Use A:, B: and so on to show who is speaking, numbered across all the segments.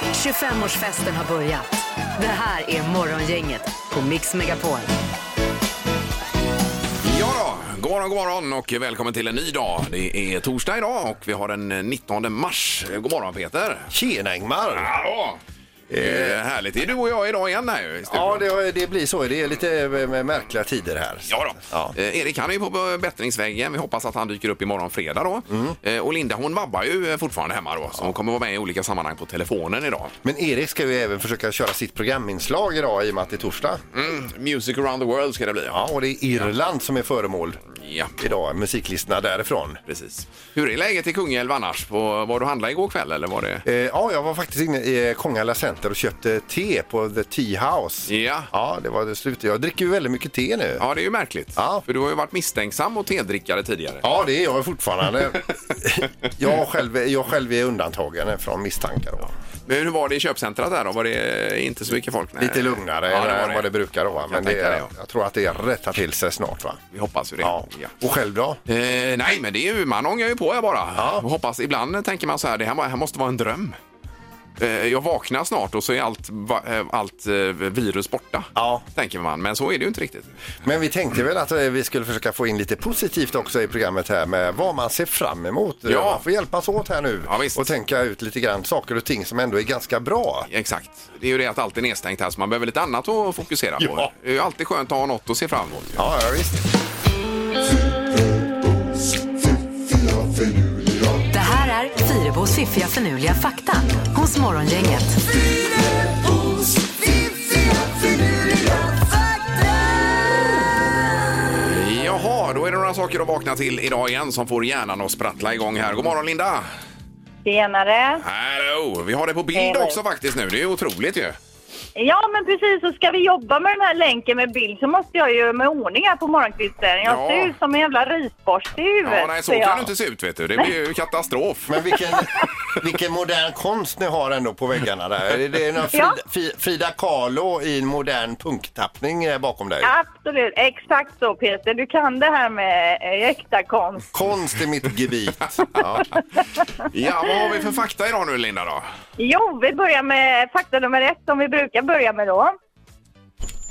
A: 25-årsfesten har börjat. Det här är Morgongänget på Mix Megapol.
B: Ja då, god morgon, god morgon och välkommen till en ny dag. Det är torsdag idag och vi har den 19 mars. God morgon Peter!
C: Tjena Ingmar!
B: Hallå! Eh, härligt, det är du och jag idag igen här ju. i studion.
C: Ja, det, det blir så. Det är lite eh, märkliga tider här.
B: Ja då.
C: Ja.
B: Eh, Erik han är ju på bättringsvägen. Vi hoppas att han dyker upp imorgon fredag då. Eh, och Linda hon vabbar ju eh, fortfarande hemma då. Så hon kommer vara med i olika sammanhang på telefonen idag.
C: Men Erik ska ju även försöka köra sitt programinslag idag i och med att det är torsdag.
B: Mm. Music around the world ska det bli.
C: Ja, och det är Irland som är föremål
B: ja.
C: idag. Musiklistorna därifrån.
B: Precis. Hur är läget i Kungälv annars? På, var du handlade igår kväll eller var det?
C: Eh, ja, jag var faktiskt inne i eh, Kongala Center och köpte te på The Tea House.
B: Ja.
C: Ja, det var det slut. Jag dricker ju väldigt mycket te nu.
B: Ja, det är ju märkligt.
C: Ja.
B: För du har ju varit misstänksam mot tedrickare tidigare.
C: Ja, det är jag fortfarande. jag, själv, jag själv är undantagen från misstankar. då.
B: Men hur var det i köpcentret där då? Var det inte så mycket folk? Nej.
C: Lite lugnare
B: Eh, Ja,
C: än
B: det var
C: vad det
B: det.
C: brukar vara. Men det,
B: tänka det, ja.
C: jag tror att det rättar till sig snart. va?
B: Vi hoppas ju det.
C: Ja.
B: Ja.
C: Och själv då?
B: Eh, nej, men det är ju, man ångar ju på här bara. Och hoppas, ibland tänker man så här, det här, må- här måste vara en dröm. Eh, jag vaknar snart och så är allt, va, eh, allt eh, virus borta.
C: Ja.
B: Tänker man, men så är det ju inte riktigt.
C: Men vi tänkte väl att eh, vi skulle försöka få in lite positivt också i programmet här med vad man ser fram emot.
B: Ja.
C: Man får hjälpas åt här nu
B: Ja, visst.
C: och tänka ut lite grann saker och ting som ändå är ganska bra.
B: Exakt. Det är ju det att allt är nedstängt här så man behöver lite annat att fokusera på.
C: Ja.
B: Det är ju alltid skönt att ha något att se fram emot.
C: Ja, ja visst.
A: Det här är Fyrebos fiffiga förnuliga fakta hos Morgongänget.
B: Jaha, då är det några saker att vakna till idag igen som får hjärnan att sprattla igång här. God morgon Linda!
D: Tjenare!
B: Hallå! Vi har det på bild
D: Hej.
B: också faktiskt nu. Det är ju otroligt ju.
D: Ja, men precis. Så ska vi jobba med den här länken med bild så måste jag ju med ordning här på morgonkvisten. Jag
B: Ja.
D: ser ut som en jävla risborste i huvudet.
B: Ja, nej, så
D: ser
B: kan
D: jag.
B: du inte se ut vet du. Det blir ju katastrof.
C: Men vilken, vilken modern konst ni har ändå på väggarna där. Är Det är någon Frida,
D: Ja.
C: Fi- Frida Kahlo i en modern punktappning eh, bakom dig.
D: Absolut, exakt så Peter. Du kan det här med eh, äkta konst.
C: Konst är mitt gebit. Ja.
B: Ja, vad har vi för fakta idag nu Linda då?
D: Jo, vi börjar med fakta nummer ett som vi brukar börja med då.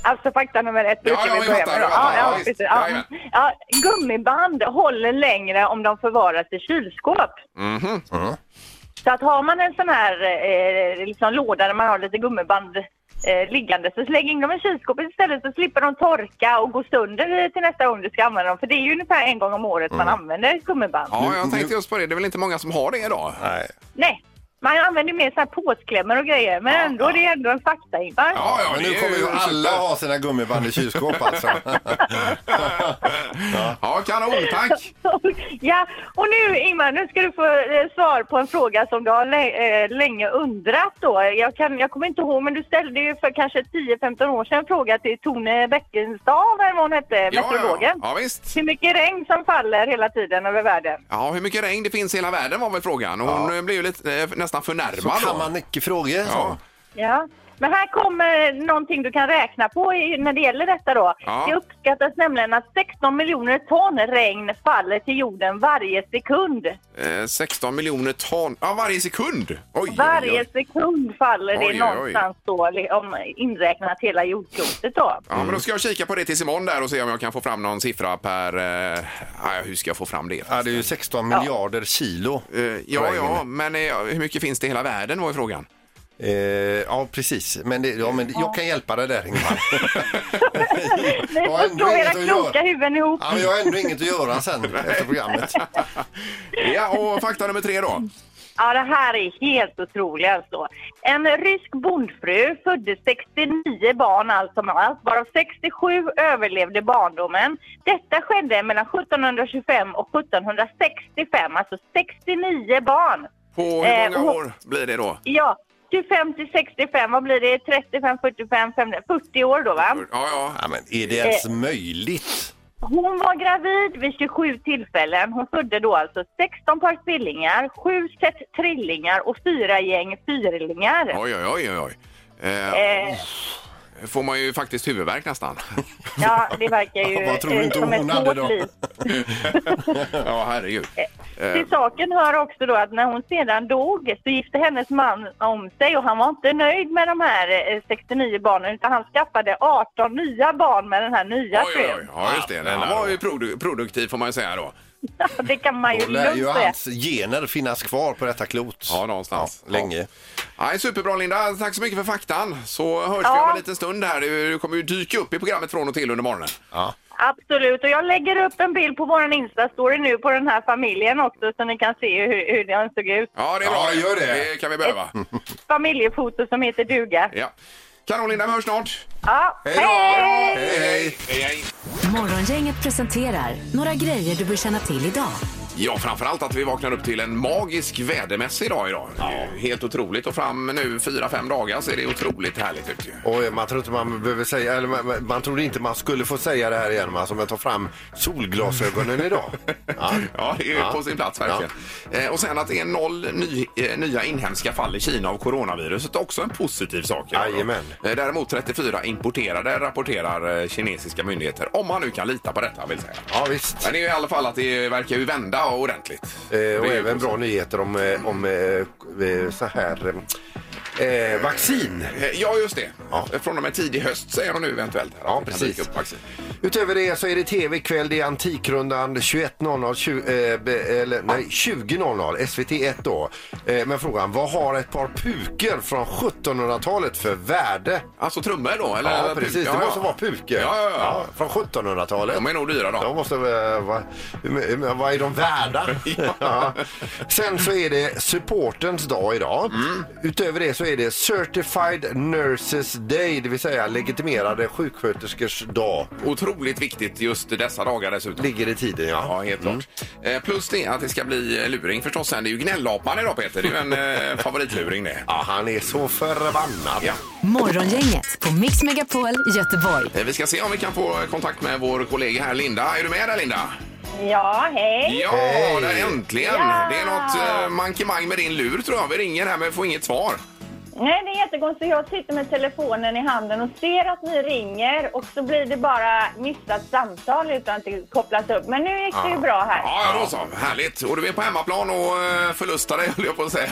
D: Alltså fakta nummer ett brukar
B: ja,
D: vi
B: jag
D: börja
B: fattar,
D: med
B: jag
D: då.
B: fattar. Ja,
D: ja,
B: visst.
D: precis. ja.
B: Jajamän.
D: ja, gummiband håller längre om de förvaras i kylskåp.
B: Mhm.
C: Mm.
D: Så att har man en sån här eh, liksom låda där man har lite gummiband eh, liggande så släng in dem i kylskåpet istället så slipper de torka och gå sönder eh, till nästa gång du ska använda dem. För det är ju ungefär en gång om året man använder ett gummiband.
B: Mm. Ja, jag tänkte just på det. Det är väl inte många som har det idag?
C: Nej.
D: Nej, man använder ju mer så här påsklämmor och grejer men ändå, det är ändå en fakta Ingvar.
B: Ja, ja,
C: Men
B: det
C: nu
B: är
C: kommer ju alla
B: super.
C: ha sina gummiband i kylskåp alltså.
B: Ja, kanon, tack!
D: ja, och nu Ingmar, nu ska du få eh, svar på en fråga som du har lä- eh, länge undrat då. Jag, kan, jag kommer inte ihåg, men du ställde ju för kanske 10-15 år sedan en fråga till Tone Bäckenstav, eller vad hon hette,
B: Ja, ja, ja.
D: meteorologen.
B: ja, visst.
D: Hur mycket regn som faller hela tiden över världen.
B: Ja, hur mycket regn det finns i hela världen var väl frågan. Och Hon eh, blev ju lite, eh, nästan
C: Så
B: förnärmad. då.
C: kan man mycket frågor.
B: Ja.
C: så.
D: Ja. Men här kommer någonting du kan räkna på i- när det gäller detta då.
B: Ja.
D: Det uppskattas nämligen att 16 miljoner ton regn faller till jorden varje sekund.
B: Eh, 16 miljoner ton. Ja, varje sekund! Oj, Oj, oj.
D: Varje sekund faller
B: Oj,
D: det
B: oj, oj.
D: någonstans då, li- om inräknat hela jordklotet då.
B: Ja, men då ska jag kika på det tills imorgon där och se om jag kan få fram någon siffra per... Eh, nej, hur ska jag få fram det?
C: Ja, det är ju 16 miljarder kilo.
B: Eh, ja, ja, men eh, hur mycket finns det i hela världen var ju frågan.
C: Eh, ja, precis. Men, det, ja, men jag kan hjälpa dig där, Ingmar.
D: Ni
C: Ja,
D: får
C: ändå
D: slå
C: inget
D: era
C: att
D: kloka
C: göra.
D: huvuden ihop.
C: Ja, men jag har ändå inget att göra sen efter programmet.
B: Ja, och fakta nummer tre då.
D: Ja, det här är helt otroligt alltså. En rysk bondfru födde 69 barn allt som allt, varav 67 överlevde barndomen. Detta skedde mellan 1725 och 1765, alltså 69 barn.
B: På hur
D: Eh,
B: många
D: och-
B: år blir det då?
D: Ja, 25 till 65, vad blir det? 35, 45, 50, 40 år då va?
B: Ja, ja.
C: Ja, men är det ens
D: Eh.
C: möjligt?
D: Hon var gravid vid 27 tillfällen. Hon födde då alltså 16 par tvillingar, 7 set trillingar och fyra gäng fyrlingar.
B: Oj, oj, oj, oj. oj. Eh,
D: Eh,
B: får man ju faktiskt huvudvärk nästan.
D: Ja, det verkar ju
C: Vad tror du
D: eh,
C: inte
D: som
C: hon
D: ett
C: hade då?
D: hårt liv.
B: ja, herregud. Eh,
D: Till saken hör också då att när hon sedan dog så gifte hennes man om sig och han var inte nöjd med de här eh, 69 barnen utan han skaffade 18 nya barn med den här nya
B: Oj, oj, oj.
D: frun.
B: Ja, just det. Den här var ju produ- produktiv får man ju säga då.
D: Det kan man ju
C: Då lär ju
D: lugnt säga.
C: hans gener finnas kvar på detta klot.
B: Ja, någonstans.
C: Ja, länge.
B: Nej, superbra Linda. Tack så mycket för faktan. Så hörs vi
D: Ja.
B: om en liten stund här. Du du kommer ju dyka upp i programmet från och till under morgonen.
D: Absolut, och jag lägger upp en bild på vår Insta-story nu på den här familjen också så ni kan se hur, hur den såg ut.
B: Ja, det är
C: Ja,
B: bra.
C: gör det.
B: Det kan vi behöva.
D: Familjefoto som heter duga.
B: Ja. Kanon Linda, vi hörs snart.
D: Ja,
C: Hej då!
D: hej!
C: Hej, hej!
B: Hej, hej.
A: Morgongänget presenterar några grejer du bör känna till idag.
B: Ja, framförallt att vi vaknar upp till en magisk vädermässig dag idag. Det är ju Helt otroligt. Och fram nu fyra, fem dagar så är det otroligt härligt ut ju.
C: Och man tror inte man behöver säga, eller man, man- man trodde inte man skulle få säga det här igen, men alltså man tar fram solglasögonen idag. Ja.
B: Ja, det är ju
C: Ja.
B: på sin plats verkligen. Eh, Och sen att det är noll ny, eh, nya inhemska fall i Kina av coronaviruset. Också en positiv sak. ja.
C: Jajamän.
B: Eh, Däremot 34 importerade rapporterar eh, kinesiska myndigheter. Om man nu kan lita på detta vill säga.
C: Ja, visst.
B: Men det är ju i alla fall att det verkar ju vända ordentligt.
C: Eh, och
B: Det är ju
C: även bra
B: positivt.
C: nyheter om, eh, om eh, eh, så här eh, eh, vaccin.
B: Eh, Ja, just det.
C: Ja.
B: Från och med tidig höst säger de nu eventuellt. här,
C: Ja,
B: att det kan
C: precis.
B: dyka upp vaccin.
C: Utöver det så är det tv ikväll. Det är Antikrundan 21.00, tju- eh, be- eller nej 20.00, SVT1 då. Eh, men frågan, vad har ett par puker från 1700-talet för värde?
B: Alltså trummor då? Eller,
C: Ja,
B: eller
C: precis.
B: puk-
C: Det
B: ja,
C: måste
B: ja.
C: vara puker.
B: Ja, ja, ja.
C: från 1700-talet.
B: De är nog dyra då.
C: De måste, eh, va, hur my- hur- vad är de värda? ja. Sen så är det supportens dag idag.
B: Mm.
C: Utöver det så är det Certified Nurses Day, det vill säga legitimerade sjuksköterskors dag.
B: Otroligt viktigt just dessa dagar dessutom.
C: Ligger i tiden, ja.
B: Ja, helt klart. Eh, Plus det att det ska bli eh, luring förstås sen. Det är ju gnällapan idag Peter. Det är ju en eh, favoritluring det.
C: Ja, han är så förbannad.
B: Ja.
A: Morgongänget på Mix Megapol Göteborg.
B: Eh, Vi ska se om vi kan få kontakt med vår kollega här Linda. Är du med där Linda?
D: Ja, hej!
B: Ja,
C: Hej.
B: där, äntligen!
D: Ja.
B: Det är något eh, mankemang med din lur tror jag. Vi ringer här men får inget svar.
D: Nej, det är jättekonstigt. Jag sitter med telefonen i handen och ser att ni ringer och så blir det bara missat samtal utan att det kopplas upp. Men nu gick det ju bra här.
B: Ja, ja, då så. Härligt. Och du är på hemmaplan och eh, förlustar dig höll jag på att säga.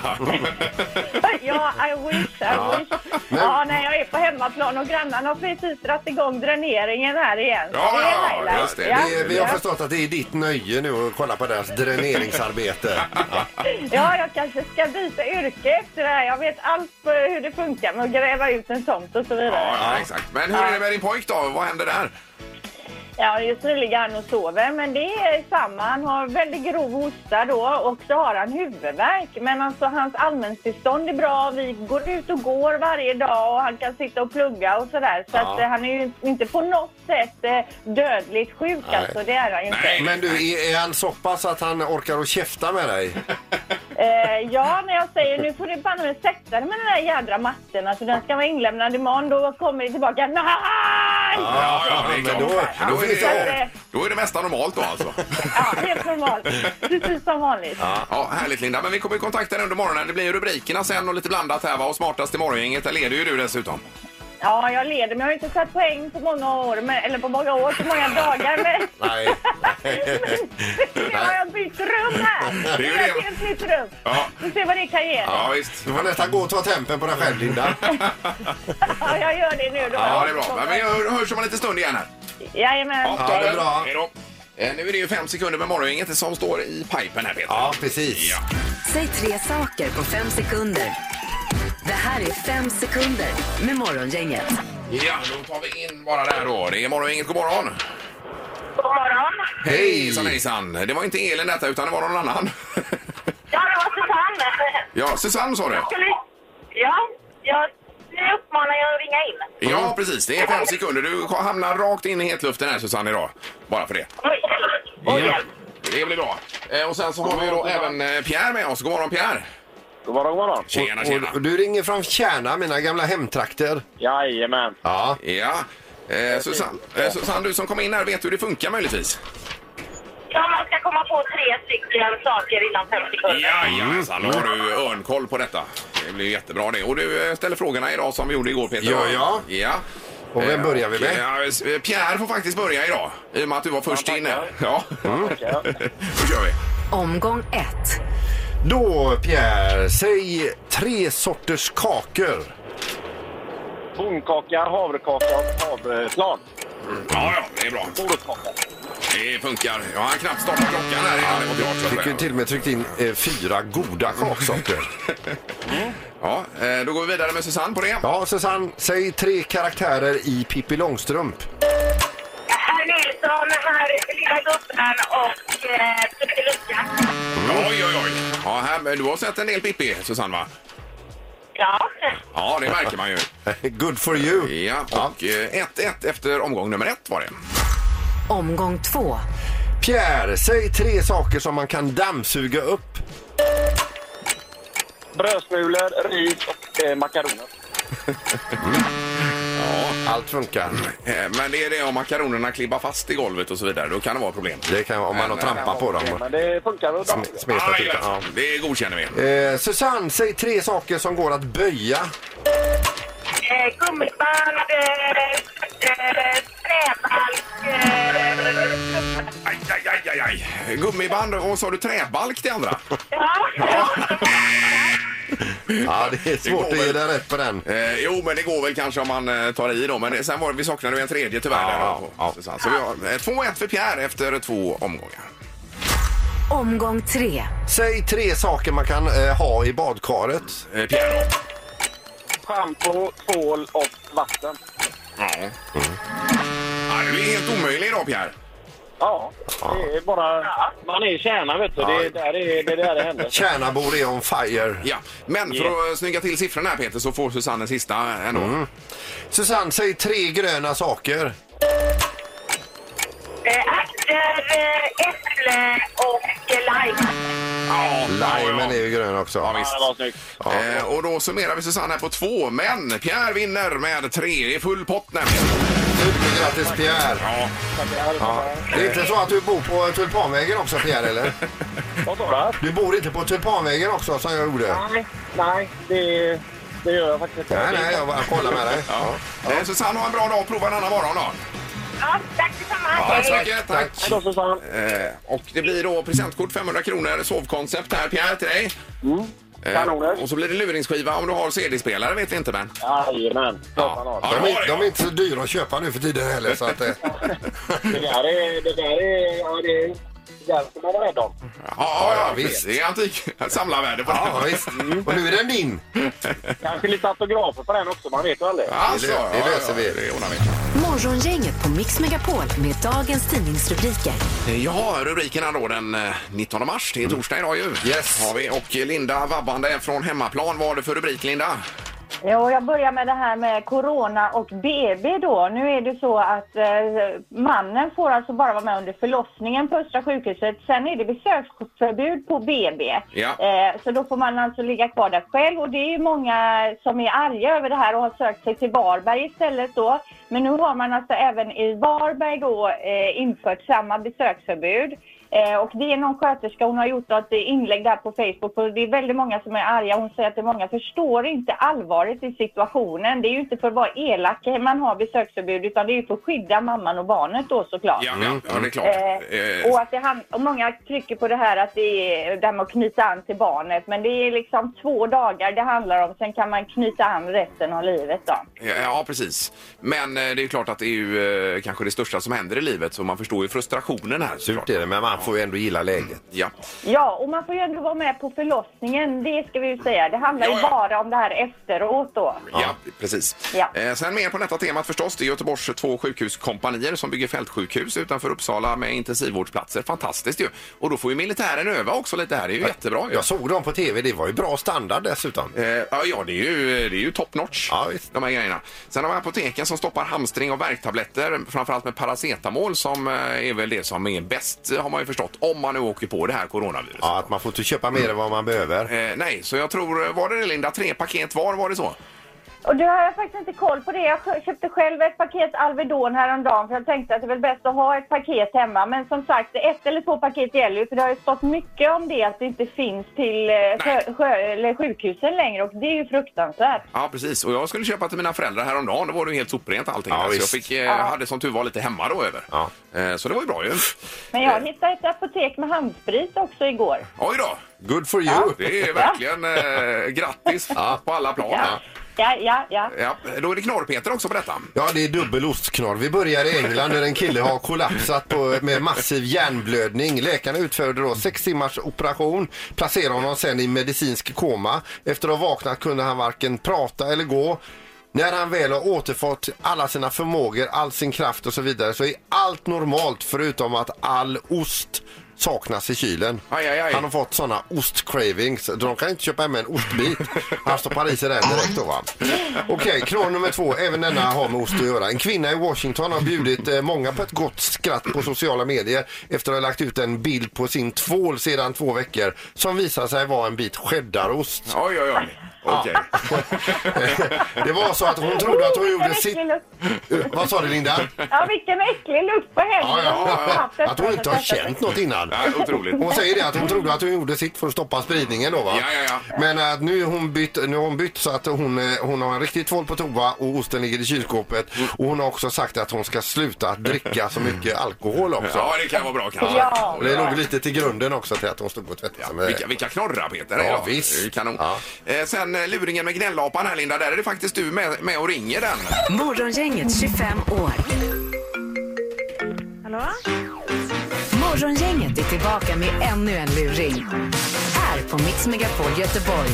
D: Ja, I wish, I wish. Ja, nej, jag är på hemmaplan och grannarna har precis dragit igång dräneringen här igen.
B: Ja,
D: Det är
B: ja,
D: Laila.
B: just det.
D: Ja,
C: Det, vi har
D: ja.
C: förstått att det är ditt nöje nu att kolla på deras dräneringsarbete. Ja.
D: Ja, jag kanske ska byta yrke efter det här. Jag vet allt eh, hur det funkar med att gräva ut en tomt och så vidare.
B: Ja, ja, exakt. Men hur är det med din pojk då? Vad händer där?
D: Ja, just nu ligger han och sover, men det är samma. Han har väldigt grov hosta då och så har han huvudvärk. Men alltså hans allmäntillstånd är bra. Vi går ut och går varje dag och han kan sitta och plugga och sådär. Så att, eh, han är ju inte på något sätt eh, dödligt sjuk alltså, det är han ju inte.
C: Men du, är, är han så pass att han orkar att käfta med dig?
D: Eh, ja, när jag säger nu får du banne mig sätta dig med den där jädra matten. Alltså den ska vara inlämnad imorgon. Då kommer det tillbaka. Nej!
B: Ja, ja, det är
C: men
B: klart.
C: då-
B: Men då,
C: då
B: är
C: finns
B: det,
D: det-
B: då är det mesta normalt då alltså.
D: Ja, helt normalt. Precis som vanligt.
B: Ja, härligt Linda. Men vi kommer i kontakt här under morgonen. Det blir ju rubrikerna sen och lite blandat här va. Och smartast i morgongänget, där leder ju du dessutom.
D: Ja, jag leder, men jag har inte satt poäng på många år, men, eller på många år, på många dagar. Men,
C: Nej.
D: men nu har jag bytt rum här.
B: Det är
D: Nu
B: ju
D: har jag
B: det.
D: ett helt nytt rum.
B: Ja.
D: Vi får se vad det kan ge.
B: Ja, visst.
C: Du får nästan gå och ta tempen på dig själv, Linda.
D: Ja, jag gör det nu då.
B: Ja, det är bra. Men vi hör- hörs om en liten stund igen här.
D: Jajamän.
B: Ja,
C: det är bra.
B: Hej då. Eh, Nu är det ju fem sekunder med morgongänget som står i pipen här Peter.
C: Ja, precis.
B: Ja.
A: Säg tre saker på fem sekunder. Det här är fem sekunder med Morgongänget.
B: ja, då tar vi in bara där då. Det är morgongänget, god morgon.
D: God morgon.
B: Hej! Hejsan hejsan. Det var inte Elin detta utan det var någon annan.
D: Ja, det var Susanne.
B: ja, Susanne sa du?
D: Ja, jag uppmanar er att ringa in.
B: Ja, precis. Det är fem sekunder. Du hamnar rakt in i hetluften här Susanne idag. Bara för det.
D: Oj, oj
C: Ja.
D: hjälp.
B: Det blir bra. Eh, Och sen så har vi då även eh, Pierre med oss. God morgon Pierre!
E: God morgon, god morgon.
B: Tjena, tjena!
C: Och, och du ringer från Kärna, mina gamla hemtrakter.
E: Jajamän.
C: Ja.
B: Ja. Eh, Susanne, eh, Susanne, du som kom in här, vet du hur det funkar möjligtvis?
D: Ja, man ska komma på tre stycken saker innan fem sekunder.
B: Jajamensan, då Mm, har du örnkoll på detta. Det blir jättebra det. Och du eh, ställer frågorna idag som vi gjorde igår Peter.
C: Ja, ja.
B: ja.
C: Och vem börjar vi med?
B: Ja, s- eh, Pierre får faktiskt börja idag, i och med att du var först
E: tackar.
B: in här. Ja,
E: Tackar.
B: då kör vi.
A: Omgång ett.
C: Då Pierre, säg tre sorters kakor.
E: Bondkaka, havrekaka och havreplan.
B: Ja, ja, det är bra.
E: Morotskaka.
B: Det funkar. Jag har knappt startat klockan här innan det var klart. så att
C: Fick ju
B: säga.
C: till och med tryckt in eh, fyra goda kaksorter.
B: Ja, eh, då går vi vidare med Susanne på det.
C: Ja, Susanne, säg tre karaktärer i Pippi Långstrump.
D: Herr Nilsson, herr lilla gubben och eh, Pippilucka.
B: Oj, oj, oj. Ja, här, men du har sett en del Pippi, Susanne, va?
D: Ja.
B: Ja, det märker man ju.
C: Good for you.
B: Ja, och eh, 1-1 efter omgång nummer ett var det.
A: Omgång två.
C: Pierre, säg tre saker som man kan dammsuga upp.
E: Brödsmulor, ris och eh, makaroner.
C: Allt funkar.
B: Eh, Men det är det om makaronerna klibbar fast i golvet och så vidare, då kan det vara problem.
C: Det kan om man har trampat på
E: Okej,
C: dem.
E: Men det funkar väl bra.
C: och Smetat ut
B: eh, ja.
C: dem.
B: Det godkänner vi.
C: Ja. Eh, Susanne, säg tre saker som går att böja.
D: Eh, gummiband, eh, eh, träbalk. Eh,
B: Aj, aj, aj, aj, aj. Gummiband och så har du träbalk till andra.
D: ja.
C: Ja, det är svårt att ge dig rätt på den.
B: Eh, jo, men det går väl kanske om man eh, tar i då. Men det, sen var det, vi saknade ju en tredje tyvärr. där,
C: ja,
B: då,
C: ja.
B: Susanne. Så vi har eh, 2-1 för Pierre efter två omgångar.
A: Omgång tre.
C: Säg tre saker man kan eh, ha i badkaret.
B: Eh, Pierre då?
E: Schampo, tvål och vatten.
B: Ja. Ja, du är helt omöjlig idag, Pierre.
E: Ja, det är bara... Man är kärna, vet du. Det är där det, är, det, är där det händer.
C: Tjärnabor är on fire.
B: Ja. Men för att eh, snygga till siffrorna här, Peter, så får Susanne en sista ändå.
C: Susanne, säg tre gröna saker.
D: Eh, Ärtor, eh, äpple och eh, lime.
B: Ja,
C: Limen är ju grön också.
B: Ja,
E: Ja,
B: visst.
E: det var snyggt.
B: Eh, och då summerar vi Susanne här på två, men Pierre vinner med tre. Det är full pott nämligen.
C: Stort Grattis Pierre!
B: Ja.
C: Det är inte så att du bor på Tulpanvägen också Pierre eller?
E: Vad sa
C: Du bor inte på Tulpanvägen också som jag gjorde?
E: du? Nej, nej det, det gör jag faktiskt inte.
C: Nej, nej, jag bara kollar med dig.
B: Ja. Eh, Susanne, ha en bra dag. Prova en annan morgon då.
D: Ja, tack detsamma.
B: Tack så
D: Hej.
B: mycket. Tack.
E: Hej då, Susanne.
B: Eh, och det blir då presentkort 500 kronor, sovkoncept här Pierre till dig. Eh,
E: Kanoner.
B: och så blir det luringsskiva om du har CD-spelare vet vi inte men.
E: Jajamän, klart man har.
B: Ja,
C: De
B: det
C: är,
B: har
C: de är inte så dyra att köpa nu för tiden heller så att... eh,
E: Det där är... Det där är... Ja, det är... Det där ska man vara rädd om.
B: Ja, ja, ja,
C: Ja,
B: visst.
C: visst.
B: Det är antik samlarvärde på
C: Ja
B: den.
C: visst. Och nu är den din!
E: Kanske lite autografer på den också, man vet ju aldrig.
B: Alltså,
C: Det lö- det
B: ja,
C: löser
B: ja,
C: vi.
B: det ordnar vi.
A: Morgongänget på Mix Megapol med dagens tidningsrubriker.
B: Eh, Ja, rubrikerna då den eh, 19 mars, det är torsdag idag ju.
C: Mm. Yes.
B: Har vi. Och eh, Linda vabbande från hemmaplan, vad var det för rubrik Linda?
D: Jo, jag börjar med det här med corona och BB då. Nu är det så att eh, mannen får alltså bara vara med under förlossningen på Östra sjukhuset. Sen är det besöksförbud på BB.
B: Ja.
D: Eh, så då får man alltså ligga kvar där själv och det är ju många som är arga över det här och har sökt sig till Varberg istället då. Men nu har man alltså även i Varberg då eh, infört samma besöksförbud. Eh, och det är någon sköterska, hon har gjort ett inlägg där på Facebook och det är väldigt många som är arga. Hon säger att det är många förstår inte allvaret i situationen. Det är ju inte för att vara elak man har besöksförbud utan det är ju för att skydda mamman och barnet då såklart.
B: Ja, ja,
C: Mm.
B: ja det är klart.
D: Eh,
B: Eh,
D: och att det hand- och många trycker på det här att det är det här med att knyta an till barnet men det är liksom två dagar det handlar om sen kan man knyta an resten av livet då.
B: Ja, ja, precis. Men eh, det är klart att det är ju eh, kanske det största som händer i livet så man förstår ju frustrationen här. såklart.
C: Surt är det, men man får ju ändå gilla läget.
B: Ja.
D: Ja, och man får ju ändå vara med på förlossningen, det ska vi ju säga. Det handlar
B: Ja,
D: ju
B: ja.
D: bara om det här efteråt då.
B: Ja, precis.
D: Ja.
B: Eh, sen mer på detta temat förstås. Det är Göteborgs två sjukhuskompanier som bygger fältsjukhus utanför Uppsala med intensivvårdsplatser. Fantastiskt ju. Och då får ju militären öva också lite här. Det är ju jättebra ju.
C: Jag såg dem på tv, det var ju bra standard dessutom.
B: Eh, Ja, ja, det är ju, det är ju top notch,
C: Ja, visst.
B: de här grejerna. Sen har vi apoteken som stoppar hamstring och värktabletter, framförallt med paracetamol som eh, är väl det som är bäst, har man ju förstått, om man nu åker på det här coronaviruset.
C: Ja, att man får inte köpa mer än vad man behöver.
B: Eh, nej, så jag tror, var det det Linda, tre paket var, var det så?
D: Och det har jag faktiskt inte koll på det. Jag kö- köpte själv ett paket Alvedon häromdagen för jag tänkte att det är väl bäst att ha ett paket hemma. Men som sagt, ett eller två paket gäller ju för det har ju stått mycket om det att det inte finns till eh, sjö, sjö, eller sjukhusen längre och det är ju fruktansvärt.
B: Ja, precis. Och jag skulle köpa till mina föräldrar häromdagen. Då var det ju helt soprent allting.
C: Ja,
B: där. så jag
C: visst.
B: fick, eh, hade som tur var lite hemma då över.
C: Ja.
B: Eh, så det var ju bra ju.
D: Men
C: Eh.
D: jag hittade ett apotek med handsprit också igår.
B: Oj då!
C: Good for you!
B: Det är verkligen eh, grattis på alla plan.
D: Ja,
B: Ja.
D: ja, ja. ja.
B: då är det Knorr-Peter också på detta.
C: Ja, det är dubbel ostknorr. Vi börjar i England där en kille har kollapsat på, med massiv hjärnblödning. Läkarna utförde då sex timmars operation, placerade honom sen i medicinsk koma. Efter att ha vaknat kunde han varken prata eller gå. När han väl har återfått alla sina förmågor, all sin kraft och så vidare så är allt normalt förutom att all ost saknas i kylen.
B: Aj, aj, aj.
C: Han har fått sådana ostcravings. De kan inte köpa hem en ostbit. Han stoppar i sig den direkt då va. Okej, knorr nummer två. Även denna har med ost att göra. En kvinna i Washington har bjudit eh, många på ett gott skratt på sociala medier efter att ha lagt ut en bild på sin tvål sedan två veckor som visar sig vara en bit cheddarost.
B: Oj, oj, oj. Okej.
C: Det var så att hon Eh, trodde att hon gjorde
D: Vilken
C: sitt...
D: äcklig lukt.
C: Eh, Vad sa du Linda?
D: Ja, vilken äcklig lukt på
C: Ja,
D: händerna.
C: ja, ja. Att hon inte har
D: Detta-
C: känt något innan.
B: Ja, otroligt.
C: Hon säger det att hon trodde att hon gjorde sitt för att stoppa spridningen då va?
B: Ja, ja, ja.
C: Men att nu är hon bytt, nu har hon bytt så att hon, eh, hon har en riktig tvål på toa och osten ligger i kylskåpet.
B: Mm.
C: Och hon har också sagt att hon ska sluta att dricka så mycket alkohol också.
B: Ja, det kan vara bra kanske.
D: Ja.
C: Och det låg lite till grunden också till att hon stod och tvättade sig med
B: Vilka, vilka knorrar Peter!
C: Ja,
B: idag.
C: visst.
B: Det är Kanon.
C: Ja.
B: Eh, sen eh, luringen med gnällapan här Linda, där är det faktiskt du med, med och ringer den.
A: Morgongänget 25 år.
F: Hallå?
A: Morgongänget är tillbaka med ännu en luring. Här på Mix Megapol Göteborg.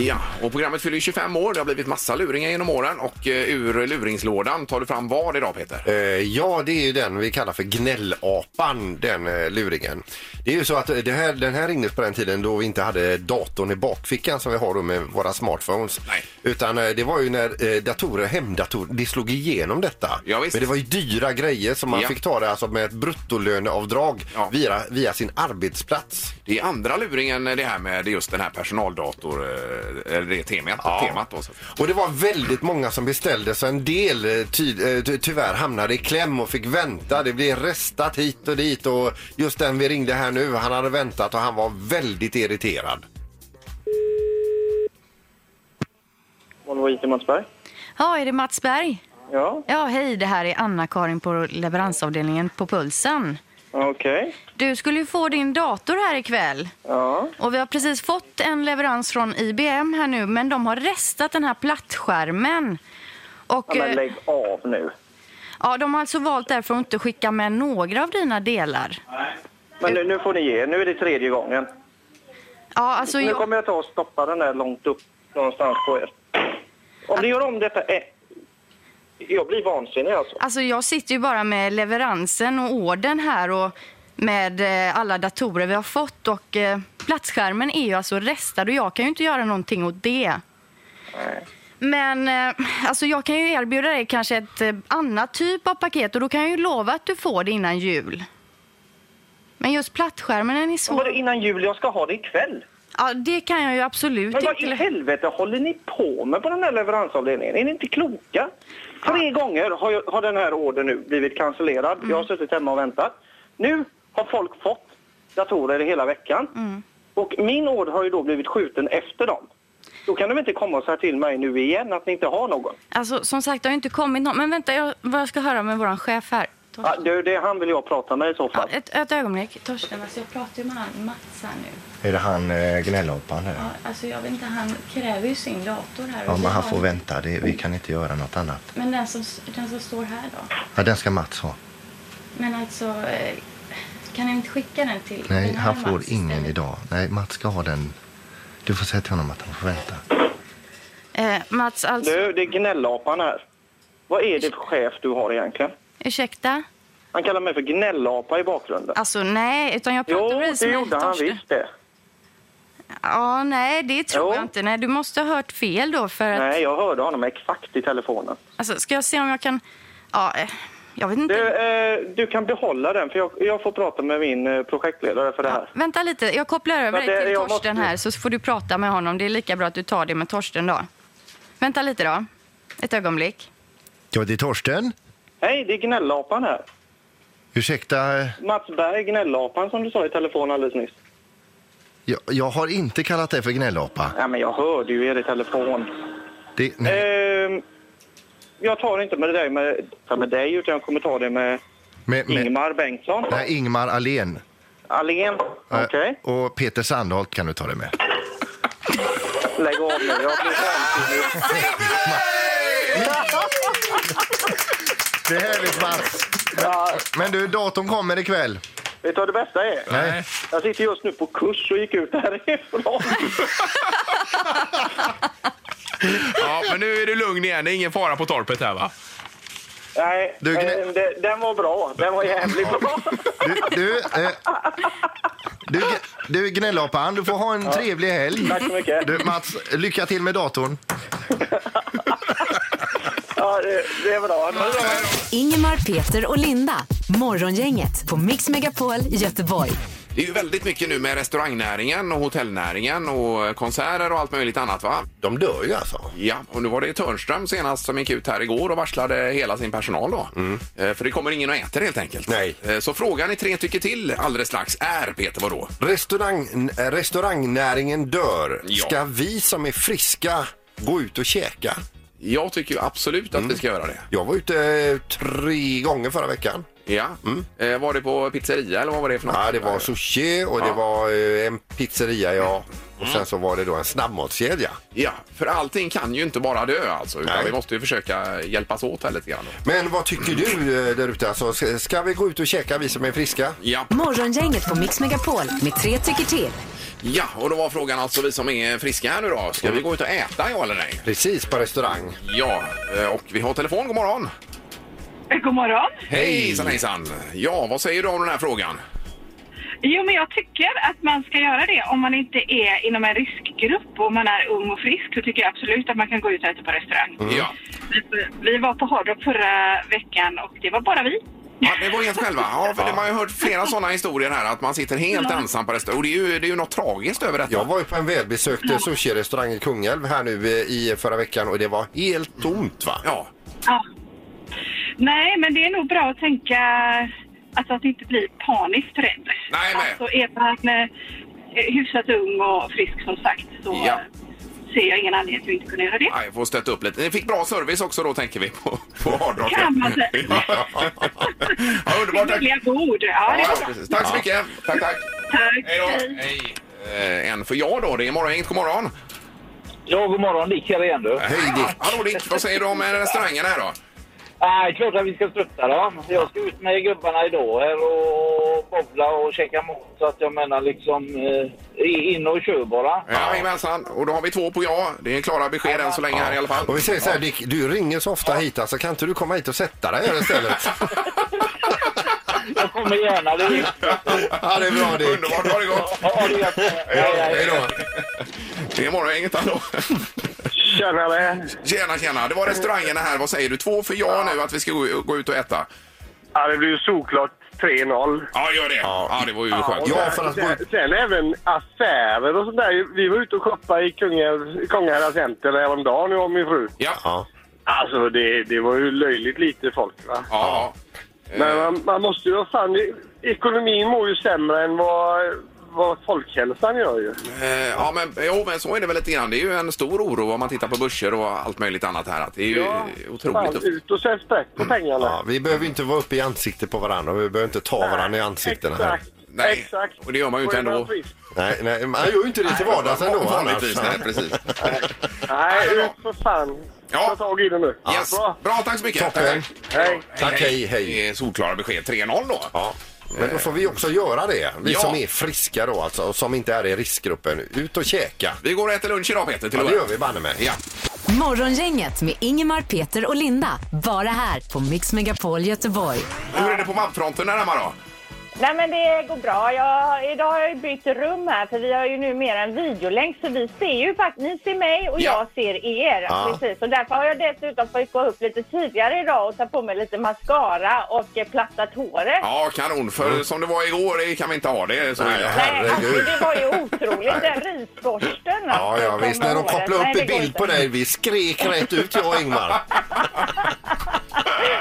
B: Ja, och programmet fyller ju 25 år. Det har blivit massa luringar genom åren och eh, ur luringslådan tar du fram vad idag Peter?
C: Eh, Ja, det är ju den vi kallar för gnällapan, den eh, luringen. Det är ju så att eh, det här, den här ringdes på den tiden då vi inte hade datorn i bakfickan som vi har då med våra smartphones.
B: Nej.
C: Utan eh, det var ju när eh, datorer, hemdatorer, det slog igenom detta.
B: Ja, visst.
C: Men det var ju dyra grejer som man
B: Ja.
C: fick ta det alltså med ett bruttolöneavdrag
B: Ja.
C: via, via sin arbetsplats.
B: Det är andra luringen eh, det här med just den här personaldator, eh, eller det temat. temat då, så. att säga.
C: Och det var väldigt många som beställde så en del eh, ty- eh, ty- tyvärr hamnade i kläm och fick vänta. Det blev restat hit och dit och just den vi ringde här nu, han hade väntat och han var väldigt irriterad.
E: Volvo IT Matsberg.
F: Ja, är det Mats Berg?
E: Ja,
F: Ja, hej, det här är Anna-Karin på leveransavdelningen på Pulsen.
E: okej.
F: Du skulle ju få din dator här ikväll.
E: Ja.
F: Och vi har precis fått en leverans från IBM här nu, men de har restat den här plattskärmen. Och,
E: ja, men
F: eh,
E: lägg av nu.
F: ja, de har alltså valt därför att inte skicka med några av dina delar.
E: Men nu, nu får ni ge er. Nu är det tredje gången.
F: Ja, alltså,
E: Nu
F: jag-
E: kommer jag ta och stoppa den där långt upp någonstans på er. Om ni gör om detta... Eh, jag blir vansinnig alltså.
F: Alltså jag sitter ju bara med leveransen och orden här och med eh, alla datorer vi har fått och eh, plattskärmen är ju alltså restad och jag kan ju inte göra någonting åt det. Men eh, alltså jag kan ju erbjuda dig kanske ett eh, annat typ av paket och då kan jag ju lova att du får det innan jul. Men just plattskärmen den är
E: Vadå
F: svår.
E: innan jul? Jag ska ha det ikväll.
F: Ja, det kan jag ju absolut
E: Men vad i
F: inte.
E: helvete håller ni på med på den här leveransavdelningen? Är ni inte kloka? Tre gånger har, jag, har den här ordern nu blivit cancellerad. Jag har
F: Mm.
E: suttit hemma och väntat. Nu har folk fått datorer hela veckan.
F: Mm.
E: Och min order har ju då blivit skjuten efter dem. Då kan de inte komma och säga till mig nu igen att ni inte har någon.
F: Alltså som sagt, det har ju inte kommit någon. Men vänta, jag, vad jag ska höra med våran chef här.
E: Ja, det, det, han vill jag prata med i så
F: Mm. Ja,
E: fall.
F: ett, ett ögonblick. Torsten, alltså jag pratar ju med han Mats här nu.
G: Är det han eh, gnällapan där?
F: Ja, alltså jag vet inte, han kräver ju sin dator här.
G: Ja,
F: Och
G: men han
F: vi
G: får
F: har-
G: vänta. Det, vi kan inte göra något annat.
F: Men den som, den som står här då?
G: Ja, den ska Mats ha.
F: Men alltså, eh, kan ni inte skicka den till
G: Nej,
F: den här
G: han får
F: Mats
G: ingen
F: istället?
G: idag. Nej, Mats ska ha den. Du får säga till honom att han får vänta.
F: Eh, Mats, alltså,
E: Du, det är gnällapan här. Vad är det för chef du har egentligen?
F: ursäkta?
E: Han kallar mig för gnällapa i bakgrunden.
F: Alltså nej, utan jag pratar
E: Jo,
F: precis
E: det
F: med
E: gjorde han
F: Torsten.
E: visst det.
F: Ja, nej, det tror
E: Jo.
F: jag inte. Nej, du måste ha hört fel då för att...
E: Nej, jag hörde honom exakt i telefonen.
F: Alltså, ska jag se om jag kan... Ja, eh, jag vet inte.
E: Du, eh, du kan behålla den, för jag, jag får prata med min eh, projektledare för det här.
F: Vänta lite, jag kopplar över
E: Men det-
F: dig till
E: jag
F: Torsten
E: måste-
F: här så får du prata med honom. Det är lika bra att du tar det med Torsten då. Vänta lite då. Ett ögonblick.
G: Ja, det är Torsten.
E: Hej, det är gnällapan här.
G: Ursäkta, eh,
E: Mats Berg, gnällapan som du sa i telefon alldeles nyss.
G: jag, jag har inte kallat dig för gnällapa.
E: Nej, men jag hörde ju er i telefon.
G: Det, nej.
E: Ehm, jag tar inte med dig, med, med dig utan jag kommer ta det med
G: Med, med,
E: Ingmar Bengtsson.
G: nej, Ingmar Alén.
E: Allén. Okej,
G: Eh, Och Peter Sandholt kan du ta det med.
E: lägg av nu. Jag blir vansinnig.
G: Det är härligt Mats.
E: Ja,
G: Men du, datorn kommer ikväll. Eh,
E: vet du vad det bästa är?
G: Nej.
E: Jag sitter just nu på kurs och gick ut härifrån.
B: Ja, men nu är du lugn igen. Det är ingen fara på torpet här va?
E: Nej,
G: Du, gnä-
E: eh, de- den var bra. Den var jävligt bra.
G: Du, du, eh, du, du gnällapan, du får ha en trevlig helg.
E: Tack så mycket.
G: Du, Mats, lycka till med datorn.
E: Ja, det, det är bra. Det var bra.
A: Ingemar, Peter och Linda. Morgongänget på Mix Megapol Göteborg.
B: Det är ju väldigt mycket nu med restaurangnäringen och hotellnäringen och konserter och allt möjligt annat va?
C: De dör ju alltså.
B: Ja, och nu var det Törnström senast som gick ut här igår och varslade hela sin personal då. Eh, För det kommer ingen och äter helt enkelt.
C: Mm. Nej.
B: Eh, Så frågan i tre tycker till alldeles strax är, Peter, vadå?
C: Restaurang, eh, restaurangnäringen dör.
B: Ja.
C: Ska vi som är friska gå ut och käka?
B: Jag tycker ju absolut att vi
C: Mm.
B: ska göra det.
C: Jag var ute eh, tre gånger förra veckan.
B: Ja. Eh, Var det på pizzeria eller vad var det för något?
C: Mm. Ja, det var sushi och det var eh, en pizzeria, ja. Och sen så var det då en snabbmatskedja.
B: Ja, för allting kan ju inte bara dö alltså. Utan
C: Nej.
B: vi måste ju försöka hjälpas åt här lite grann. då.
C: Men vad tycker du eh, där ute? Alltså, ska- ska vi gå ut och käka, vi som är friska?
B: Ja.
A: Morgongänget på Mix Megapol med tre tycker till.
B: ja, och då var frågan alltså vi som är friska här nu då. Ska
C: Mm.
B: vi gå ut och äta, ja eller nej?
C: Precis, på restaurang.
B: Ja, eh, och vi har telefon. God morgon!
H: God morgon.
B: Hejsan hejsan! Ja, vad säger du om den här frågan?
H: Jo, men jag tycker att man ska göra det om man inte är inom en riskgrupp och om man är ung och frisk. Så tycker jag absolut att man kan gå ut och äta på restaurang.
B: Ja.
H: Vi- Vi var på Hard Rock förra veckan och det var bara vi.
B: ja, det var helt själva. Ja, för det, man har ju hört flera sådana historier här att man sitter helt ensam på restaurang. Och det är ju, det är ju något tragiskt över detta.
C: Jag var ju på en välbesökt eh, sushi-restaurang i Kungälv här nu eh, i förra veckan och det var helt tomt va?
B: Ja,
H: Ja. Nej, men det är nog bra att tänka alltså, att inte bli paniskt rädd.
B: Nej, men-
H: Alltså, är man eh, hyfsat ung och frisk som sagt så eh,
B: Ja.
H: ser jag ingen anledning till att inte kunna göra det.
B: Nej, jag får stötta upp lite. Ni fick bra service också då tänker vi på, på Hard Rock.
H: Kan man säga.
B: ja, underbart. Tack.
H: Billiga bord. Ja, det
B: Ja,
H: var bra.
B: precis. tack så mycket. Tack, tack.
H: Tack.
B: Hej då. Eh, En för jag då. Det är morgon. God morgon.
I: Ja, god morgon. Dick här igen du.
B: Hej Dick. Hallå Dick. Vad säger du om eh, restaurangen här då?
I: Nej, Äh, klart att vi ska stötta dem. Jag ska ut med gubbarna idag här och bowla och käka mat. Så att jag menar liksom, eh, in och kör bara.
B: Jajamensan. Och då har vi två på ja. Det är klara besked än så länge här i alla fall.
C: Och vi säger så här Dick, du ringer så ofta hit alltså, kan inte du komma hit och sätta dig här istället?
I: Jag kommer gärna. Det är...
C: ja, det är bra Dick.
B: Underbart. Ha det gott.
I: Ja, det är... jättebra. Hej, hej.
C: Hej då.
B: Det är morgon. Inget hallå.
E: Tjenare!
B: Tjena, tjena. Det var restaurangerna här. Vad säger du? Två för ja nu att vi ska gå, gå ut och äta.
J: Ja, det blir ju såklart 3-0.
B: Ja, gör det. Ja, det var ju skönt.
C: Ja, för att gå
J: Sen, sen även affärer och sånt där. Vi var ute och shoppade i Kungälv- Kungälvs center häromdagen, jag och min fru.
B: Ja.
C: Ja.
J: Alltså, det, det var ju löjligt lite folk, va?
B: Ja.
C: Eh.
J: Men man, man måste ju... vad Fan, det- ekonomin mår ju sämre än vad, vad folkhälsan gör ju.
B: Eh, Ja, men, jo, men så är det väl lite grann. Det är ju en stor oro om man tittar på börser och allt möjligt annat här. Att det är ju otroligt.
J: Fan, ut och sätt sprätt på pengarna.
C: eh, Mm. Ja, vi behöver ju inte vara uppe i ansiktet på varandra. Vi behöver inte ta varandra i ansiktena här.
J: Exakt.
B: Nej,
J: Exakt.
B: och det gör man ju inte
J: är
B: ändå.
J: man frisk.
C: Nej, nej, man gör ju inte det till vardags ändå.
B: Vanligtvis,
C: annars.
B: nej, precis.
J: Nej,
B: Ja, det är
J: ut för fan.
B: Ja.
J: Ta tag i det nu.
B: Yes.
J: Bra.
B: Bra, tack så mycket.
C: Toppen.
J: Hej.
C: Tack, hej, hej.
B: Det är Solklara besked. 3-0 då.
C: Ja. Men då får vi också göra det, vi
B: Ja.
C: som är friska då alltså och som inte är i riskgruppen. Ut och käka.
B: Vi går och äter lunch idag, Peter. Till
C: Ja,
B: och
C: det
B: med.
C: gör vi banne mig.
B: Ja.
A: Morgongänget med Ingemar, Peter och Linda. Bara här på Mix Megapol Göteborg.
B: Hur är det på vabbfronten där hemma då?
D: Nej men det går bra. Jag, idag har jag ju bytt rum här för vi har ju numera en videolänk så vi ser ju faktiskt, ni ser mig och
B: Ja.
D: jag ser er.
C: Ja.
D: Precis. Och därför har jag dessutom fått gå upp lite tidigare idag och ta på mig lite mascara och eh, plattat håret.
B: Ja, kanon. För som det var igår, det kan vi inte ha det. Så
C: Mm. Nej,
B: illa.
D: Nej, alltså
C: herregud.
D: det var ju otroligt. Den alltså, risborsten
C: Ja, ja visst. När de kopplade upp en bild på dig, vi skrek rätt ut jag och Ingmar.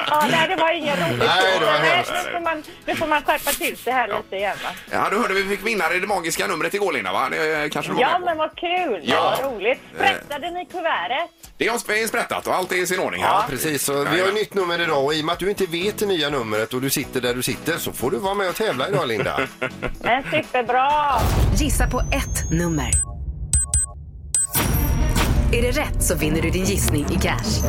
D: Ja, nej, det var ingen roligt.
C: Nej, det var hemskt.
D: nu, får man, nu får man skärpa till sig här lite igen. Va?
B: Ja, du hörde vi fick vinnare i det magiska numret igår, Linda, va? Det eh, kanske du var
D: Ja,
B: med på.
D: men vad kul.
B: Ja.
D: Vad roligt.
C: Eh.
D: Pressade ni kuvertet?
B: Det har sprättat och allt är i sin ordning. här.
C: Ja, precis. Så vi har ett nytt nummer idag och i och med att du inte vet det nya numret och du sitter där du sitter så får du vara med och tävla idag, Linda.
D: Men superbra.
A: Gissa på ett nummer. Är det rätt så vinner du din gissning i cash.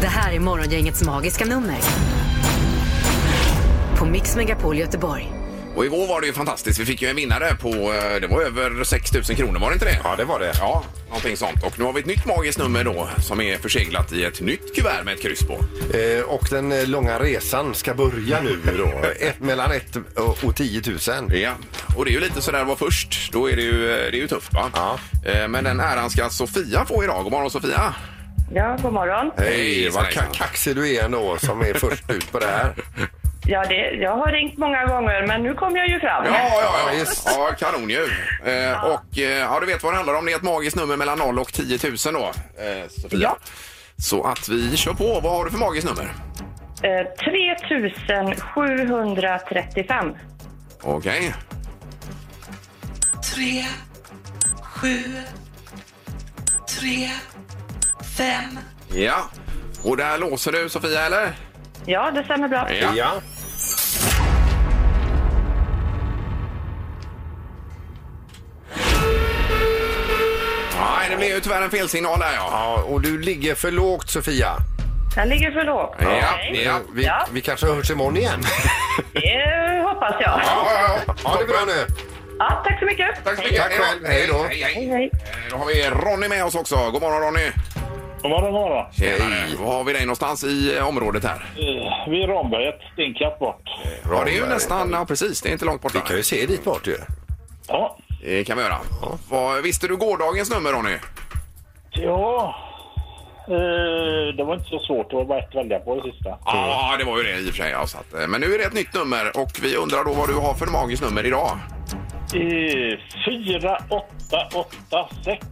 A: Det här är Morgongängets magiska nummer. På Mix Megapol Göteborg.
B: Och igår var det ju fantastiskt. Vi fick ju en vinnare på, eh, det var över 6 000 kronor, var det inte det?
C: Ja, det var det.
B: Ja, någonting sånt. Och nu har vi ett nytt magiskt nummer då som är förseglat i ett nytt kuvert med ett kryss på.
C: Eh, och den eh, långa resan ska börja nu då. Ett, mellan 1 och 10 000.
B: Ja, och det är ju lite sådär att vara först. Då är det ju, eh, det är ju tufft va?
C: Ja.
B: Eh, Men den äran ska Sofia få idag. God morgon Sofia!
D: Ja, god morgon.
C: Hej, vad
B: Hejsan,
C: ka- kaxig du är ändå som är först ut på det här.
D: Ja, det, jag har ringt många gånger, men nu kom jag ju fram.
B: Ja, ja, ja.
C: just.
B: ja kanon ju. Eh, Och eh, ja, du vet vad det handlar om. Det är ett magiskt nummer mellan 0 och 10 000 då, eh, Sofia.
D: Ja.
B: Så att vi kör på. Vad har du för magiskt nummer?
D: Eh, 3735.
B: Okej.
H: Tre, sju, tre, fem.
B: Ja. Och där låser du Sofia, eller?
D: Ja, det stämmer bra.
C: Ja.
B: Nej, det blev ju tyvärr en felsignal där ja.
C: ja, och du ligger för lågt Sofia.
D: Den ligger för lågt.
B: Ja,
D: Okej.
B: ja.
C: Vi,
D: Ja.
C: vi kanske hörs imorgon igen.
D: Det Eh, hoppas jag.
B: Ja, ja,
C: Ha det bra nu.
D: Ja, tack så mycket.
B: Tack så mycket.
C: Tack själv. Hej då.
B: Hej,
D: Hej,
B: hej.
D: hej.
B: Eh, Då har vi Ronny med oss också. God morgon Ronny.
I: God morgon, god morgon.
B: Tjenare. Var har vi dig någonstans i eh, området här?
I: Eh, Vi är i Ramberget, stenkast bort.
B: Ja, det är ju nästan... Ja, precis. Det är inte långt bort.
C: Vi kan ju se dit bort ju.
I: Ja.
B: Det kan vi göra. Vad, visste du gårdagens nummer Ronny?
I: Ja. Eh, Det var inte så svårt. Det var bara ett att välja på det sista.
B: Ja, det var ju det i och för sig. Ja, så att, eh, men nu är det ett nytt nummer och vi undrar då vad du har för magiskt nummer idag.
I: Eh, Fyra, åtta, åtta, sex.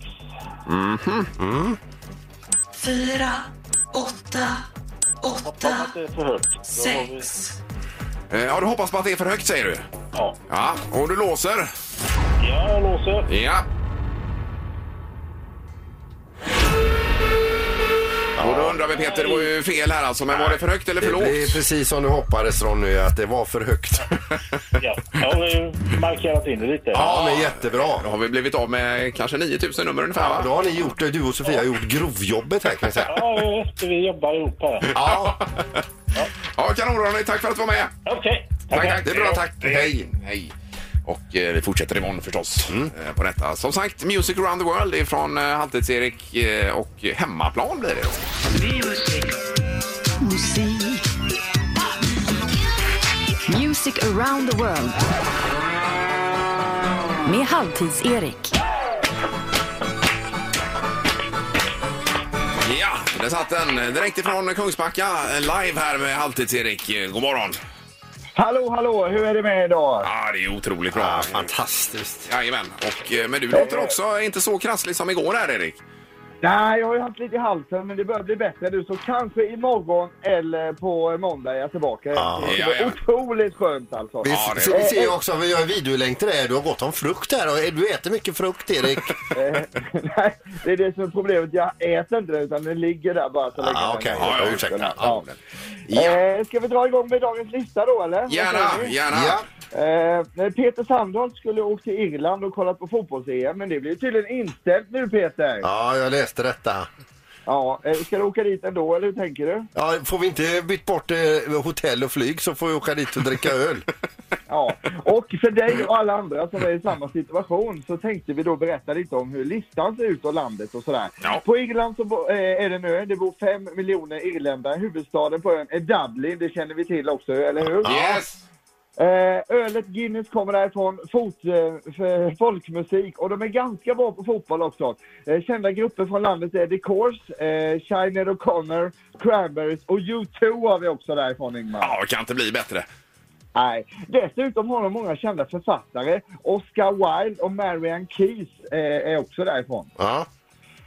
H: Fyra, åtta, åtta,
I: Hoppas att det är för högt. Då har vi-
H: sex.
B: Eh, Ja, du hoppas på att det är för högt säger du?
I: Ja.
B: Ja, och du låser?
I: ja, jag låser.
B: Ja. Och då undrar vi Peter, det var ju fel här alltså, men var det för högt eller för
C: Det är
B: lågt?
C: precis som du hoppades Ronny, att det var för högt.
I: Ja, jag har ju markerat in det lite.
C: Ja, men
B: Då
C: jättebra.
B: har vi blivit av med kanske 9000 nummer ungefär
C: Ja, då
B: va?
C: har ni gjort det, du och Sofia har gjort grovjobbet här kan jag säga.
I: Ja, just det, vi jobbar ihop här.
C: Ja,
B: Ja, kanon Ronny, tack för att du var med!
I: Okej.
C: det är bra tack. Hej.
B: Hej! Och eh, vi fortsätter imorgon förstås eh, på detta. Som sagt, Music around the world ifrån eh, Halvtids-Erik eh, och hemmaplan blir det då.
A: Music around the world. Med Halvtids-Erik.
B: Ja, där satt den eh, direkt ifrån Kungsbacka eh, live här med Halvtids-Erik. Eh, God morgon!
I: Hallå, hallå, hur är det med idag?
B: Ja, det är otroligt bra.
C: Ja, fantastiskt.
B: Jajamän, och, eh, men du låter också inte så krasslig som igår här Erik.
I: Nej, jag har ju haft lite i halsen, men det börjar bli bättre nu. Så kanske imorgon eller på måndag är jag tillbaka.
C: Ah, Ja.
I: det
B: Ja,
I: var
B: ja.
I: otroligt skönt alltså.
C: Vi,
B: Ja, det är
C: vi ser ju också, vi har en videolänk till dig, du har gått om frukt här och du äter mycket frukt Erik.
I: Eh, Nej, det är det som är problemet. Jag äter inte den, utan den ligger där bara så länge.
C: Ah, Okej,
B: Ja, ja,
C: ursäkta.
I: Ja.
C: Ja.
I: Eh, ska vi dra igång med dagens lista då, eller? Vad säger
B: Gärna,
I: ni?
B: gärna.
C: Ja.
I: Eh, när Peter Sandholt skulle åka till Irland och kolla på fotbolls-EM, men det blir tydligen inställt nu Peter. Ja.
C: ja, jag läste detta.
I: eh, ska du åka dit ändå, eller hur tänker du?
C: Ja, får vi inte bytt bort eh, hotell och flyg så får vi åka dit och dricka öl.
I: Ja, och för dig och alla andra som är i samma situation så tänkte vi då berätta lite om hur listan ser ut och landet och sådär.
B: Ja.
I: På Irland så bo, eh, är det en ö, det bor fem miljoner irländare. Huvudstaden på ön är Dublin, det känner vi till också, eller hur?
B: Yes!
K: Eh, ölet Guinness kommer därifrån, fot, eh, f- folkmusik och de är ganska bra på fotboll också. Eh, kända grupper från landet är The Course, eh, Shiner O'Connor, Cranberries och U2 har vi också därifrån Ingmar.
B: Ja, det kan inte bli bättre.
K: Nej. Dessutom har de många kända författare. Oscar Wilde och Marianne Keys eh, är också därifrån.
C: Ja.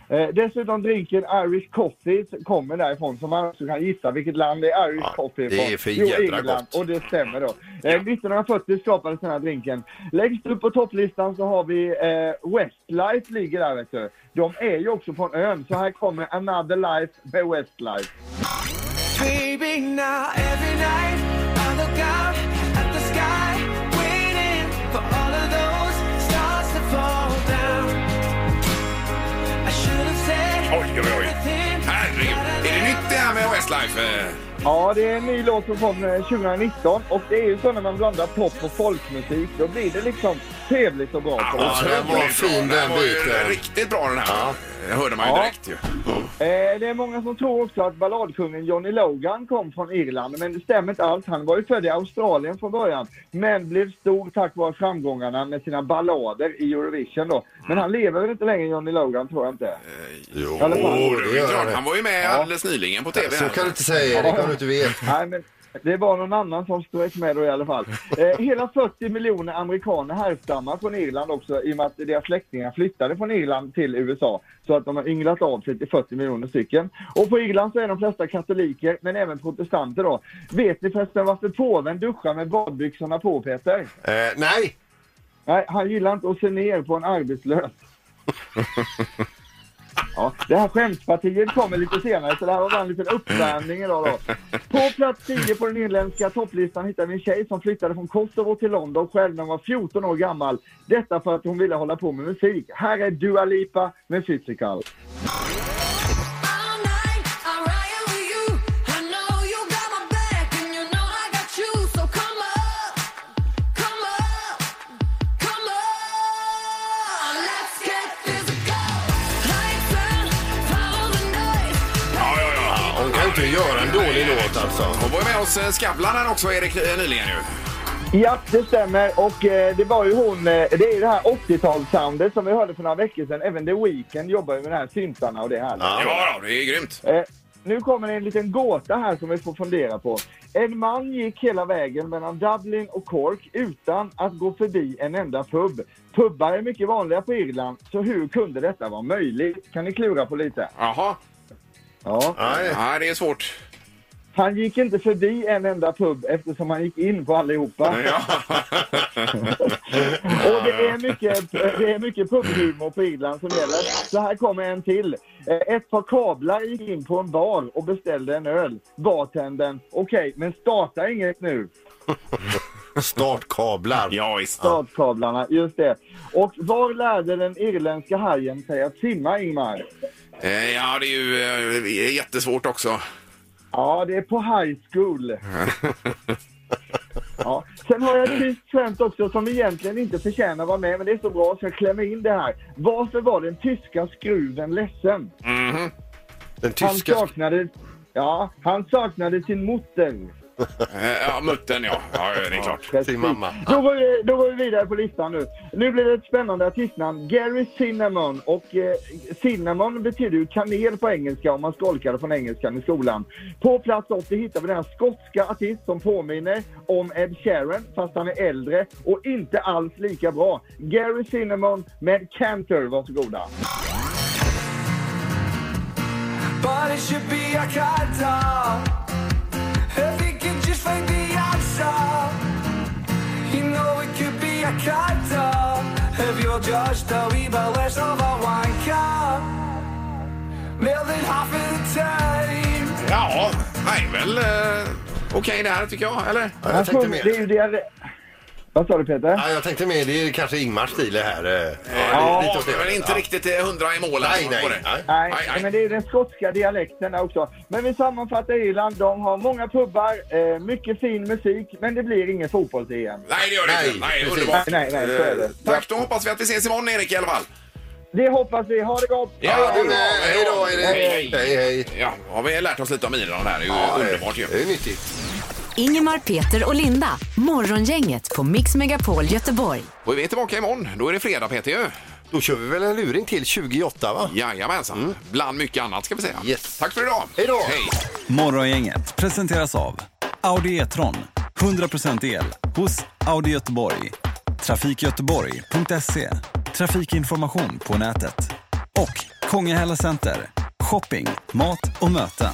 K: Eh, dessutom drinken Irish Coffee kommer därifrån, så man också kan gissa vilket land det är Irish Coffee
C: det
K: ifrån.
C: är för
K: Jo,
C: jädra
K: England,
C: gott.
K: och det stämmer då. Eh, 1940 skapades den här drinken. Längst upp på topplistan så har vi eh, Westlife ligger där vet du. De är ju också från ön, så här kommer Another Life med Westlife.
L: Baby, now every night I look out at the sky, waiting for all of those stars to fall down. I should have said
B: Oj, oj, oj. Herregud. Är det nytt det här med Westlife? Eh,
K: Ja, det är en ny låt som kom eh, 2019 och det är ju så när man blandar pop och folkmusik, då blir det liksom trevligt och bra. på det
B: alltså,
K: här.
B: den ju bra. Den var ju riktigt bra den här. Det hörde man ju
K: Ja.
B: direkt ju.
K: Eh, det är många som tror också att balladkungen Johnny Logan kom från Irland, men det stämmer inte alls. Han var ju född i Australien från början, men blev stor tack vare framgångarna med sina ballader i Eurovision då. Men han lever väl inte längre, Johnny Logan, tror jag inte.
C: Jo,
K: I alla fall.
B: det är ju klart. Han var ju med alldeles nyligen på tv.
C: Så kan du inte säga, det kan du inte veta.
K: Nej, men det var någon annan som strök med då i alla fall. Eh, hela 40 miljoner amerikaner härstammar från Irland också i och med att deras släktingar flyttade från Irland till USA. Så att de har ynglat av sig till 40 miljoner stycken. Och på Irland så är de flesta katoliker, men även protestanter då. Vet ni förresten varför påven duschar med badbyxorna på, Peter?
C: Eh, nej!
K: Nej, han gillar inte att se ner på en arbetslös. Ja, det här skämtpartiet kommer lite senare, så det här var bara en liten uppvärmning idag då. På plats 10 på den irländska topplistan hittar vi en tjej som flyttade från Kosovo till London själv när hon var 14 år gammal. Detta för att hon ville hålla på med musik. Här är Dua Lipa med Physical.
L: I'm riding with you. I know you got my back, and you know I got you. So come up, come up, come up. Let's get physical. Lights out, follow the noise.
C: Hon kan inte göra en dålig låt alltså.
B: Hon var ju med oss eh, Skavlan här också, Erik, eh, nyligen ju.
K: Ja, det stämmer. Och eh, det var ju hon, eh, det är ju det här 80-talssoundet som vi hörde för några veckor sedan. Även The Weeknd jobbar ju med de här syntarna och det här.
B: Ja, ja, det är grymt.
K: Eh, nu kommer det en liten gåta här som vi får fundera på. En man gick hela vägen mellan Dublin och Cork utan att gå förbi en enda pub. Pubbar är mycket vanliga på Irland, så hur kunde detta vara möjligt? Kan ni klura på lite?
B: Jaha.
K: Ja.
B: Nej. det är svårt.
K: Han gick inte förbi en enda pub eftersom han gick in på allihopa.
B: Ja.
K: Och det är mycket, det är mycket pubhumor på Irland som gäller. Så här kommer en till. Eh, Ett par kablar gick in på en bar och beställde en öl. Bartendern, okej, men starta inget nu.
C: Startkablar.
B: Ja, visst.
K: Startkablarna, just det. Och var lärde den irländska hajen sig att simma, Ingmar?
B: Eh, Ja, det är ju eh, det är jättesvårt också.
K: Ja, det är på high school. Ja. Sen har jag ett tyst skämt också som egentligen inte förtjänar att vara med, men det är så bra så jag klämmer in det här. Varför var den tyska skruven ledsen?
C: Den
K: Han
C: tyska...
K: saknade, ja, han saknade sin mutter.
B: Eh, Ja, muttern ja. Ja, det är klart.
C: Till mamma.
K: Då går, vi, då går vi vidare på listan nu. Nu blir det ett spännande artistnamn. Gary Cinnamon. Och eh, Cinnamon betyder ju kanel på engelska om man skolkade från engelskan i skolan. På plats 80 hittar vi den här skotska artist som påminner om Ed Sheeran fast han är äldre och inte alls lika bra. Gary Cinnamon med Cantor. Varsågoda.
L: But it should be a cut down. If it could just find the answer, you know it could be a cut down. If you're just a wee bit less of a wanker, more than half of the time.
B: Ja, nej väl eh, okej det här tycker jag, eller?
C: Ja, jag tänkte
K: Det är ju
C: mer...
K: det... Vad sa du Peter?
C: Ja, jag tänkte mer, det är kanske Ingmars stil det här. eh.
B: Ja,
C: lite åt
B: det är väl inte
C: Ja.
B: riktigt eh, hundra i mål.
C: Nej,
B: alltså,
C: nej,
B: på det.
C: nej.
K: Nej,
B: Aj, aj.
K: men det är den skotska dialekten där också. Men vi sammanfattar Irland. De har många pubbar, eh, mycket fin musik, men det blir ingen fotboll till EM.
B: Nej, det gör det
C: Nej,
B: inte. Nej,
C: precis.
B: underbart.
K: Nej, nej, nej, så är det.
B: Eh, Tack, då hoppas vi att vi ses imorgon Erik i alla fall.
K: Det hoppas vi. Ha det gott!
C: Ja,
B: det är
C: men,
B: bra.
C: hej då, hej,
B: Hej, hej.
C: hej. hej, hej.
B: Ja, har vi lärt oss lite om Irland här. Det är ju underbart ju.
C: Det är nyttigt.
A: Ingemar, Peter och Linda. Morgongänget på Mix Megapol Göteborg.
B: Och vi är tillbaka imorgon. Då är det fredag, Peter. Ju.
M: Då kör vi väl en luring till 28, va?
B: Jajamensan.
C: Mm.
B: Bland mycket annat, ska vi säga. Tack för idag.
M: Hej då.
B: Hej.
N: Morgongänget presenteras av Audi E-tron. 100% el hos Audi Göteborg. Trafikgöteborg.se. Trafikinformation på nätet. Och Kongahälla Center. Shopping, mat och möten.